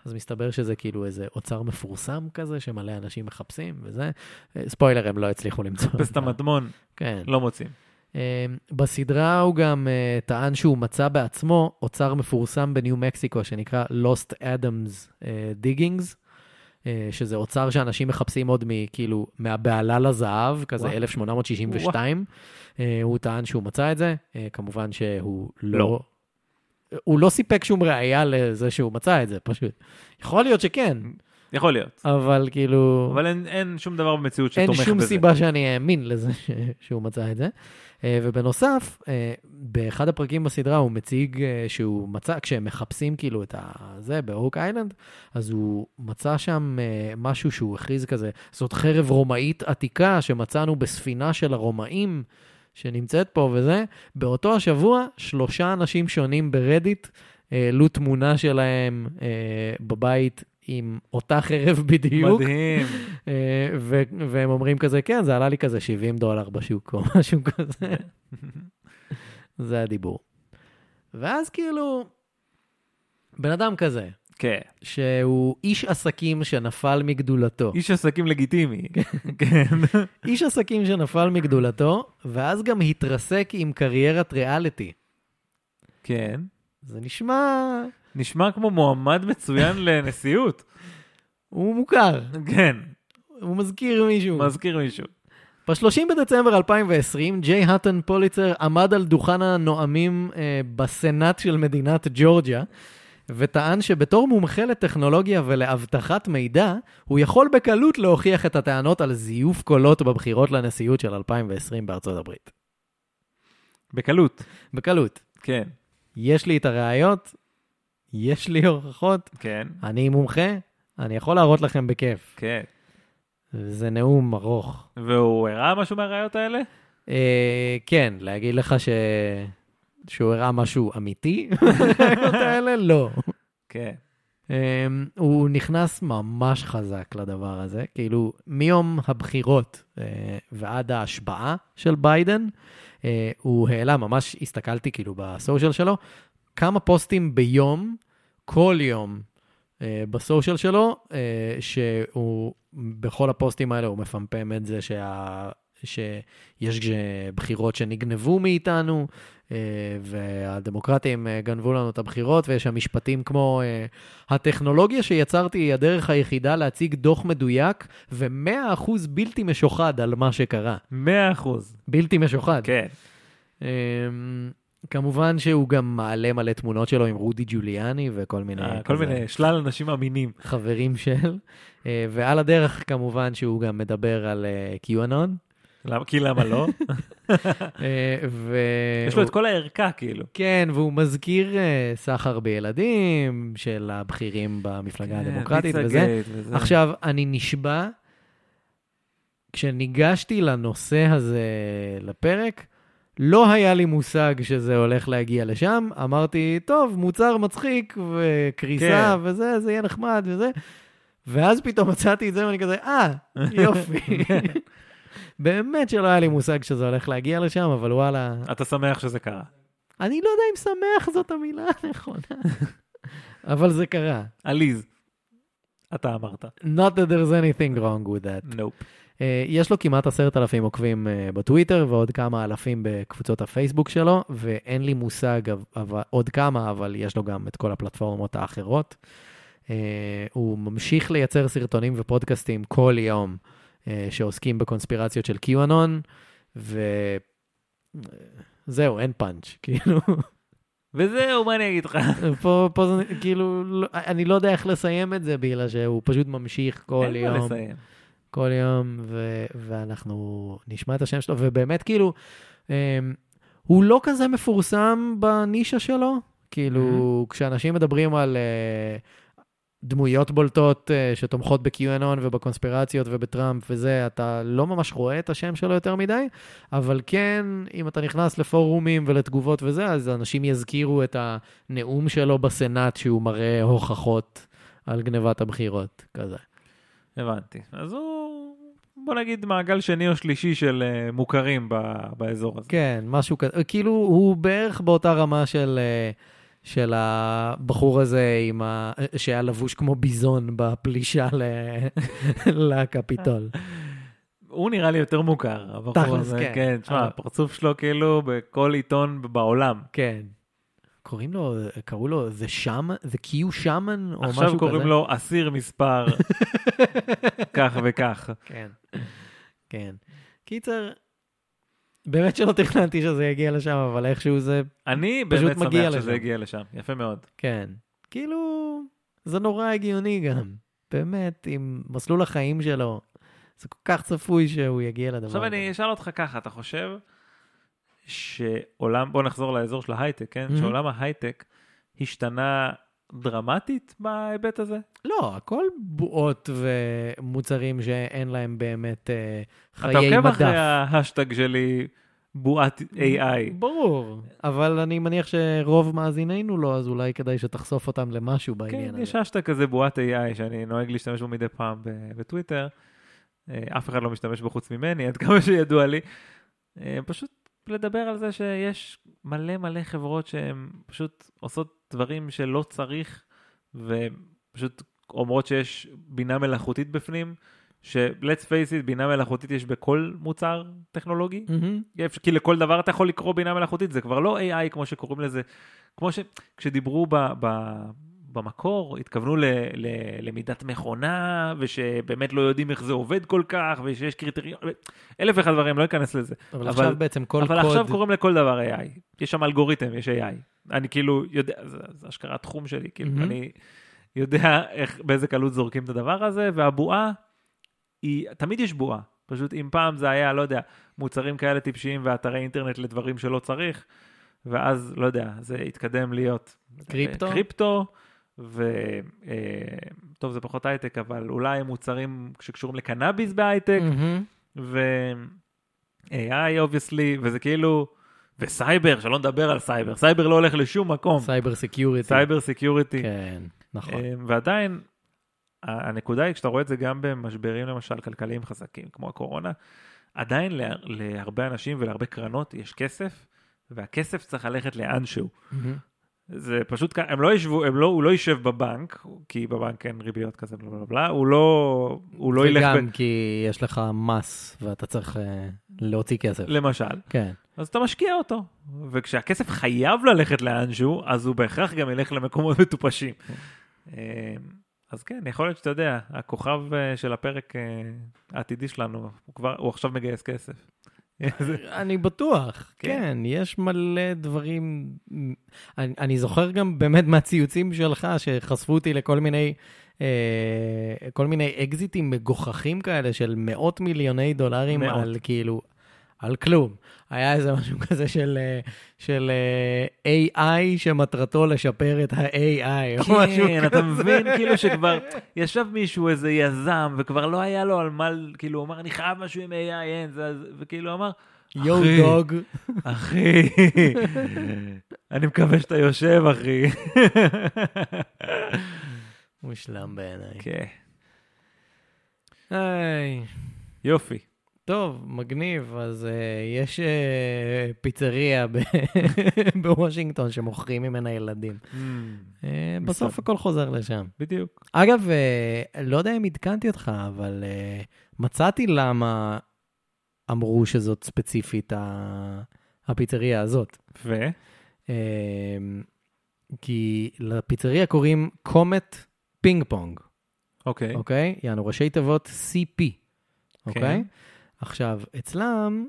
A: אז מסתבר שזה כאילו איזה אוצר מפורסם כזה, שמלא אנשים מחפשים וזה. אה, ספוילר, הם לא הצליחו למצוא.
B: פסט המטמון,
A: כן.
B: לא מוצאים.
A: אה, בסדרה הוא גם אה, טען שהוא מצא בעצמו אוצר מפורסם בניו מקסיקו שנקרא Lost Adams אה, Diggings, אה, שזה אוצר שאנשים מחפשים עוד מכאילו מהבעלה לזהב, כזה
B: וואו.
A: 1862. אה, הוא טען שהוא מצא את זה, אה, כמובן שהוא לא...
B: לא.
A: הוא לא סיפק שום ראייה לזה שהוא מצא את זה, פשוט. יכול להיות שכן,
B: יכול להיות.
A: אבל כאילו...
B: אבל אין- אין שום דבר במציאות שתומך
A: אין
B: בזה.
A: שום סיבה שאני אאמין לזה ש- שהוא מצא את זה. אה, ובנוסף, אה, באחד הפרקים בסדרה הוא מציג אה, שהוא מצא, כשהם מחפשים כאילו את ה- זה באוק איילנד, אז הוא מצא שם אה, משהו שהוא הכריז כזה, זאת חרב רומאית עתיקה שמצאנו בספינה של הרומאים. שנמצאת פה וזה, באותו השבוע שלושה אנשים שונים ברדיט העלו תמונה שלהם אה, בבית עם אותה חרב בדיוק.
B: מדהים.
A: <laughs> אה, ו- והם אומרים כזה, כן, זה עלה לי כזה 70 דולר בשוק או <laughs> משהו כזה. זה הדיבור. ואז כאילו, בן אדם כזה,
B: כן.
A: שהוא איש עסקים שנפל מגדולתו.
B: איש עסקים לגיטימי. <laughs> כן.
A: איש עסקים שנפל מגדולתו, ואז גם התרסק עם קריירת ריאליטי.
B: כן.
A: זה נשמע...
B: נשמע כמו מועמד מצוין <laughs> לנשיאות.
A: הוא מוכר,
B: כן.
A: הוא מזכיר מישהו.
B: מזכיר מישהו.
A: ב-30 בדצמבר 2020, ג'יי האטון פוליצר עמד על דוכן הנואמים אה, בסנאט של מדינת ג'ורג'יה, וטען שבתור מומחה לטכנולוגיה ולאבטחת מידע, הוא יכול בקלות להוכיח את הטענות על זיוף קולות בבחירות לנשיאות של 2020 בארצות הברית.
B: בקלות,
A: בקלות.
B: כן,
A: יש לי את הראיות, יש לי הוכחות,
B: כן,
A: אני מומחה, אני יכול להראות לכם בכיף.
B: כן.
A: זה נאום ארוך.
B: והוא הראה משהו מהראיות האלה?
A: אה, כן, להגיד לך ש... שהוא הראה משהו אמיתי? <laughs> האלה? לא.
B: כן.
A: אה, הוא נכנס ממש חזק לדבר הזה, כאילו מיום הבחירות אה, ועד ההשבעה של ביידן, אה, הוא העלה, ממש הסתכלתי כאילו בסושיאל שלו, כמה פוסטים ביום, כל יום, אה, בסושיאל שלו, אה, שהוא, בכל הפוסטים האלה הוא מפמפם את זה שה... שיש אה, בחירות שנגנבו מאיתנו, אה, והדמוקרטים אה, גנבו לנו את הבחירות, ויש שם משפטים כמו, אה, הטכנולוגיה שיצרתי היא הדרך היחידה להציג דוח מדויק ו-100% בלתי משוחד על מה שקרה.
B: 100%.
A: בלתי משוחד.
B: כן.
A: אמ, כמובן שהוא גם מעלה מלא תמונות שלו עם רודי ג'וליאני וכל מיני...
B: אה, כל
A: כזה
B: מיני שלל אנשים אמינים.
A: חברים של, אה, ועל הדרך כמובן שהוא גם מדבר על אה, QAnon.
B: למה- כי למה לא?
A: <laughs> אה, ו...
B: יש לו את כל הערכה, כאילו.
A: כן, והוא מזכיר אה, סחר בילדים של הבכירים במפלגה
B: כן,
A: הדמוקרטית
B: פיצה
A: וזה.
B: גייט וזה.
A: עכשיו, אני נשבע, כשניגשתי לנושא הזה לפרק, לא היה לי מושג שזה הולך להגיע לשם. אמרתי, טוב, מוצר מצחיק וקריסה
B: כן.
A: וזה, זה יהיה נחמד וזה. ואז פתאום מצאתי את זה ואני כזה, אה, יופי. <laughs> באמת שלא היה לי מושג שזה הולך להגיע לשם, אבל וואלה,
B: אתה שמח שזה קרה.
A: אני לא יודע אם שמח זאת המילה הנכונה, <laughs> אבל זה קרה.
B: עליז, אתה אמרת.
A: Not that there's anything wrong with that.
B: נופ.
A: אה, יש לו כמעט עשרת אלפים עוקבים אה, בטוויטר ועוד כמה אלפים בקבוצות הפייסבוק שלו, ואין לי מושג אב- אבל- עוד כמה, אבל יש לו גם את כל הפלטפורמות האחרות. אה, הוא ממשיך לייצר סרטונים ופודקאסטים כל יום אה, שעוסקים בקונספירציות של QAnon, וזהו, אין פאנץ', <laughs> כאילו,
B: וזהו, מה אני אגיד לך?
A: פה, פה זה כאילו, לא- אני לא יודע איך לסיים את זה, בגלל שהוא פשוט ממשיך כל
B: אין מה
A: יום.
B: לסיים.
A: כל יום, ו- ואנחנו נשמע את השם שלו, ובאמת, כאילו, אמ, הוא לא כזה מפורסם בנישה שלו. כאילו, כשאנשים מדברים על אה, דמויות בולטות אה, שתומכות ב-QAnon ובקונספירציות ובטראמפ וזה, אתה לא ממש רואה את השם שלו יותר מדי, אבל כן, אם אתה נכנס לפורומים ולתגובות וזה, אז אנשים יזכירו את הנאום שלו בסנאט, שהוא מראה הוכחות על גנבת הבחירות, כזה.
B: הבנתי. אז הוא, בוא נגיד, מעגל שני או שלישי של אה, מוכרים ב- באזור הזה.
A: כן, משהו כזה. כאילו, הוא בערך באותה רמה של, אה, של הבחור הזה עם ה... שהיה לבוש כמו ביזון בפלישה ל... <laughs> לקפיטול.
B: הוא נראה לי יותר מוכר, הבחור
A: תכלס,
B: הזה.
A: כן.
B: כן, תשמע,
A: אבל-
B: הפרצוף שלו כאילו בכל עיתון בעולם.
A: כן. קוראים לו, קראו לו The Shaman, The Q Shaman, או משהו כזה.
B: עכשיו קוראים לו
A: <laughs>
B: אסיר מספר כך וכך.
A: כן. כן. קיצר, באמת שלא תכננתי שזה יגיע לשם, אבל איכשהו זה,
B: אני
A: פשוט
B: באמת
A: מגיע
B: שמח שזה
A: לשם.
B: הגיע לשם, יפה מאוד.
A: כן. כאילו, זה נורא הגיוני גם. באמת, עם מסלול החיים שלו, זה כל כך צפוי שהוא יגיע לדבר
B: עכשיו אני אשאל אותך ככה, אתה חושב שעולם, בוא נחזור לאזור של ההייטק, כן?
A: Mhm.
B: שעולם ההייטק השתנה דרמטית בהיבט הזה?
A: לא, הכל בועות ומוצרים שאין להם באמת אה,
B: אתה
A: חיי
B: עוקב אחרי
A: מדף.
B: ההשטג שלי, בועת AI.
A: ברור, אבל אני מניח שרוב מאזינינו לא, אז אולי כדאי שתחשוף אותם למשהו בעניין
B: כן,
A: הזה.
B: יש השטג כזה בועת AI שאני נוהג להשתמש בו מדי פעם ב- בטוויטר. אה, אף אחד לא משתמש בו חוץ ממני, עד כמה שידוע לי. אה, פשוט לדבר על זה שיש מלא מלא חברות שהן פשוט עושות דברים שלא צריך, ופשוט אומרות שיש בינה מלאכותית בפנים, ש-let's face it, בינה מלאכותית יש בכל מוצר טכנולוגי.
A: מהמם.
B: אפשר- כי לכל דבר אתה יכול לקרוא בינה מלאכותית, זה כבר לא AI כמו שקוראים לזה, כמו ש... כשדיברו ב... ב... במקור התכוונו ל, ל, למידת מכונה, ושבאמת לא יודעים איך זה עובד כל כך, ושיש קריטריון, אלף ואחד דברים, לא אכנס לזה.
A: אבל, עכשיו בעצם כל
B: אבל
A: קוד...
B: עכשיו קוראים לכל דבר AI. יש שם אלגוריתם, יש AI. אני כאילו יודע, זה, זה אשכרה תחום שלי, כאילו,
A: מהמם.
B: אני יודע איך, באיזה קלות זורקים את הדבר הזה, והבועה, היא, תמיד יש בועה. פשוט אם פעם זה היה, לא יודע, מוצרים כאלה טיפשיים ואתרי אינטרנט לדברים שלא צריך, ואז, לא יודע, זה התקדם להיות... אה,
A: קריפטו?
B: קריפטו, ו... אה, טוב, זה פחות הייטק, אבל אולי מוצרים שקשורים לקנאביס בהייטק,
A: מהמם.
B: ו-AI אובייסלי, וזה כאילו, וסייבר, שלא נדבר על סייבר, סייבר לא הולך לשום מקום,
A: סייבר סקיוריטי.
B: סייבר סקיוריטי,
A: כן, נכון.
B: אמ, ועדיין, ה- הנקודה היא, כשאתה רואה את זה גם במשברים למשל כלכליים חזקים, כמו הקורונה, עדיין לה- להרבה אנשים ולהרבה קרנות יש כסף, והכסף צריך ללכת לאן שהוא.
A: מהמם.
B: זה פשוט, כ- הם לא ישבו, הם לא, הוא לא יישב בבנק, כי בבנק אין ריביות כזה, בלה בלה בלה, הוא לא, הוא לא ילך,
A: וגם
B: ב...
A: כי יש לך מס ואתה צריך אה, להוציא כסף.
B: למשל,
A: כן.
B: אז אתה משקיע אותו. וכשהכסף חייב ללכת לאנשהו, אז הוא בהכרח גם ילך למקומות <laughs> מטופשים. אה, אז כן, יכול להיות שאתה יודע, הכוכב אה, של הפרק אה, העתידי שלנו, הוא כבר, הוא עכשיו מגייס כסף. <laughs> זה-
A: אני בטוח,
B: כן.
A: כן, יש מלא דברים. אני, אני זוכר גם באמת מהציוצים שלך, שחשפו אותי לכל מיני, אה, כל מיני אקזיטים מגוחכים כאלה של מאות מיליוני דולרים
B: מאות.
A: על כאילו, על כלום. היה איזה משהו <laughs> כזה של, אה, של אה, AI שמטרתו לשפר את ה-AI, או משהו
B: כן, אתה מבין, כאילו שכבר ישב מישהו, איזה יזם, וכבר לא היה לו על מה, כאילו, הוא אמר, אני חייב משהו עם AI, אין, זה- זה- וכאילו אמר,
A: יו
B: אחי.
A: דוג.
B: אחי, אני מקווה שאתה יושב, אחי.
A: מושלם בעיניי.
B: כן,
A: היי.
B: יופי.
A: טוב, מגניב, אז uh, יש uh, פיצריה ב- <laughs> בוושינגטון שמוכרים ממנה ילדים. Uh, בסוף
B: מסתבר.
A: הכל חוזר לשם.
B: בדיוק.
A: אגב, uh, לא יודע אם עדכנתי אותך, אבל uh, מצאתי למה אמרו שזאת ספציפית ה- הפיצריה הזאת.
B: ו?
A: Uh, כי לפיצריה קוראים קומט פינג פונג.
B: אוקיי.
A: אוקיי? יענו ראשי תיבות CP,
B: כן.
A: אוקיי? עכשיו, אצלם,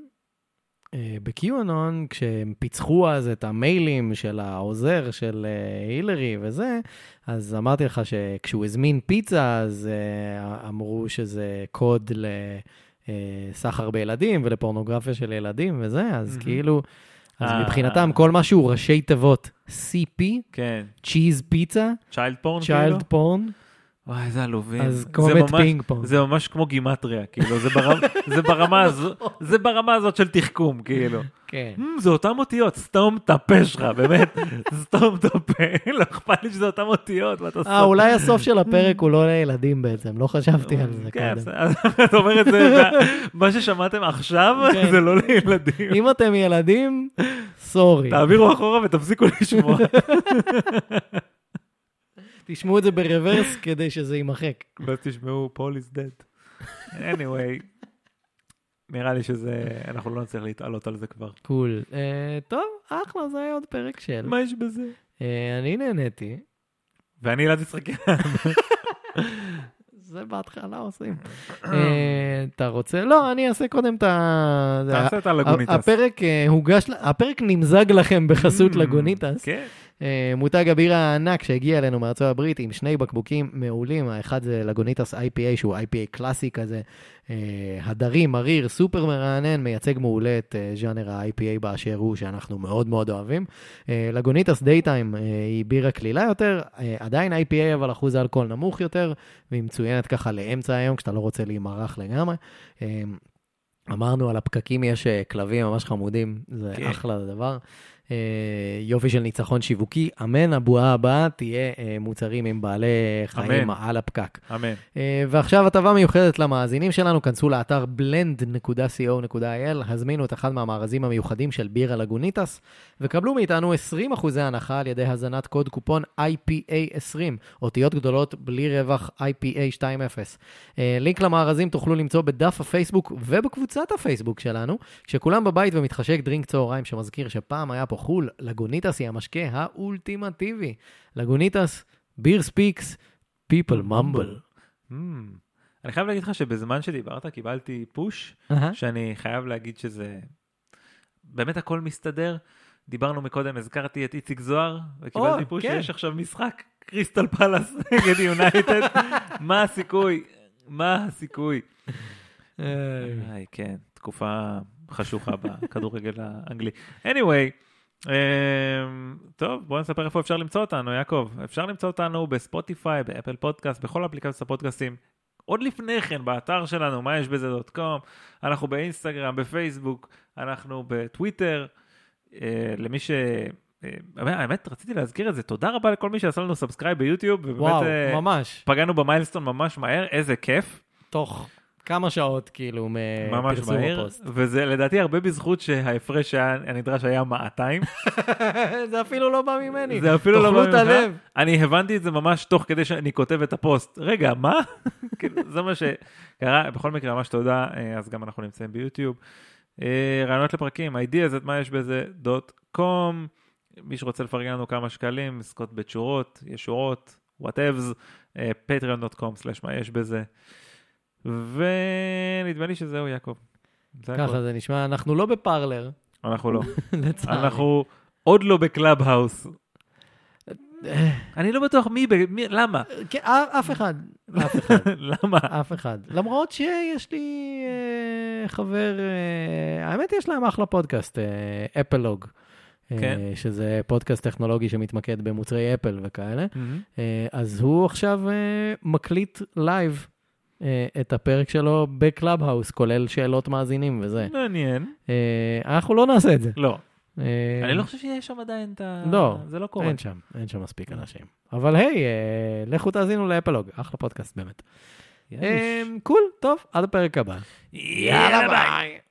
A: אה, בקיואנון, כשהם פיצחו אז את המיילים של העוזר של אה, הילרי וזה, אז אמרתי לך שכשהוא הזמין פיצה, אז אה, אמרו שזה קוד לסחר בילדים ולפורנוגרפיה של ילדים וזה, אז
B: מהמם.
A: כאילו, אז
B: אה.
A: מבחינתם כל מה שהוא ראשי תיבות CP,
B: כן.
A: צ'יז פיצה,
B: צ'יילד פורן כאילו?
A: צ'יילד פורן,
B: וואי, איזה עלובים.
A: אז
B: זה
A: קומט
B: ממש-
A: פינג פונג.
B: זה ממש כמו גימטריה, כאילו, זה ברמה- זה ברמה הזו- זה ברמה הזאת של תחכום, כאילו.
A: כן.
B: "מ, זה אותם אותיות, סתום את הפה שלך, באמת, סתום את הפה, <laughs> לא אכפת לי שזה אותם אותיות, מה אתה
A: אה, אולי הסוף של הפרק הוא לא לילדים בעצם, לא חשבתי על זה
B: כן,
A: קודם.
B: אז אתה אומר את זה, וה- מה ששמעתם עכשיו,
A: כן.
B: זה לא לילדים.
A: אם אתם ילדים, סורי.
B: תעבירו אחורה ותפסיקו לשמוע.
A: תשמעו את זה ברוורס כדי שזה יימחק.
B: ואז תשמעו, פול is dead. anyway, נראה לי שזה, אנחנו לא נצליח להתעלות על זה כבר.
A: קול. אה, טוב, אחלה, זה היה עוד פרק של.
B: מה יש בזה?
A: אה, אני נהניתי,
B: ואני אלעד יצחקי.
A: זה בהתחלה עושים. אה, אתה רוצה? לא, אני אעשה קודם את ה... זה
B: תעשה את
A: ה-
B: הלגוניטס.
A: הפרק אה, הוגש, ל- הפרק נמזג לכם בחסות
B: Mm,
A: לגוניטס.
B: כן,
A: אה, מותג הבירה הענק שהגיע אלינו מארצות הברית עם שני בקבוקים מעולים, האחד זה לגוניטס IPA שהוא IPA קלאסי כזה, אה, הדרי, מריר, סופר מרענן, מייצג מעולה את אה, ז'אנר ה-IPA באשר הוא, שאנחנו מאוד מאוד אוהבים. אה, לגוניטס דייטיים אה, היא בירה קלילה יותר, אה, עדיין IPA אבל אחוז אלכוהול נמוך יותר, והיא מצוינת ככה לאמצע היום כשאתה לא רוצה להימרח לגמרי. אה, אמרנו על הפקקים יש אה, כלבים ממש חמודים, זה
B: כן.
A: אחלה דבר. אה, יופי של ניצחון שיווקי, אמן, הבועה הבאה תהיה אה, מוצרים עם בעלי חיים
B: אמן.
A: על הפקק.
B: אמן.
A: אה, ועכשיו הטבה מיוחדת למאזינים שלנו, כנסו לאתר blend.co.il, הזמינו את אחד מהמארזים המיוחדים של בירה לגוניטס, וקבלו מאיתנו 20% הנחה על ידי הזנת קוד קופון IPA20, אותיות גדולות בלי רווח IPA20. אה, לינק למארזים תוכלו למצוא בדף הפייסבוק ובקבוצת הפייסבוק שלנו, כשכולם בבית ומתחשק דרינק צהריים שמזכיר שפעם היה פה חול, לגוניטס היא המשקה האולטימטיבי. לגוניטס, ביר ספיקס, people mumble.
B: Hmm. אני חייב להגיד לך שבזמן שדיברת קיבלתי פוש, שאני חייב להגיד שזה... באמת הכל מסתדר. דיברנו מקודם, הזכרתי את איציק זוהר, וקיבלתי
A: או,
B: פוש
A: כן.
B: שיש עכשיו משחק קריסטל פלאס נגד
A: <laughs>
B: יונייטד. מה הסיכוי? מה הסיכוי?
A: אה,
B: איי, כן, תקופה חשוכה בכדורגל האנגלי. anyway, אמ, טוב, בואו נספר איפה אפשר למצוא אותנו, יעקב. אפשר למצוא אותנו בספוטיפיי, באפל פודקאסט, בכל אפליקציות הפודקאסטים. עוד לפני כן, באתר שלנו, מה יש בזה דוט קום, אנחנו באינסטגרם, בפייסבוק, אנחנו בטוויטר. אה, למי ש... אה, האמת, רציתי להזכיר את זה, תודה רבה לכל מי שעשה לנו סאבסקרייב ביוטיוב, ובאמת
A: וואו,
B: אה,
A: ממש.
B: פגענו במיילסטון ממש מהר, איזה כיף.
A: תוך כמה שעות, כאילו,
B: ממש
A: מפרסום
B: מהיר,
A: הפוסט. <laughs>
B: וזה לדעתי הרבה בזכות שההפרש היה- הנדרש היה
A: <laughs>
B: מעתיים.
A: זה אפילו לא בא ממני.
B: זה אפילו לא
A: תאכלו
B: בא
A: את
B: ממך.
A: הלב.
B: אני הבנתי את זה ממש תוך כדי שאני כותב את הפוסט. רגע, מה? <laughs> כאילו, זה מה שקרה. בכל מקרה, ממש תודה, אה, אז גם אנחנו נמצאים ביוטיוב. אה, רעיונות לפרקים, ideas, את מה יש בזה, דוט קום. מי שרוצה לפרגן לנו כמה שקלים, עסקות בתשורות, ישורות, אה, וואטאבס, patreon.com/מה יש בזה. ונדמה לי שזהו, יעקב. זה הכל.
A: ככה זה נשמע, אנחנו לא בפרלר, <laughs>
B: אנחנו לא.
A: לצערי.
B: אנחנו עוד לא בקלאב האוס. אני לא בטוח מי, ב- מי- למה?
A: כן, אה, אף אחד, אף אחד,
B: <laughs> למה?
A: אף אחד. למרות שיש לי אה, חבר, אה, האמת יש להם אחלה פודקאסט, אה, אפלוג. אה,
B: כן.
A: שזה פודקאסט טכנולוגי שמתמקד במוצרי אפל וכאלה. אה, אז הוא עכשיו אה, מקליט לייב אה, את הפרק שלו בקלאב האוס, כולל שאלות מאזינים וזה.
B: מעניין.
A: אה, אנחנו לא נעשה את זה.
B: לא,
A: אה,
B: אני לא חושב שיש שם עדיין את ה...
A: לא,
B: זה לא קורה.
A: אין שם, אין שם מספיק אנשים. אבל היי, אה, לכו תאזינו לאפלוג, אחלה פודקאסט באמת.
B: יש.
A: אה, קול, טוב, עד הפרק הבא.
B: יאללה ביי.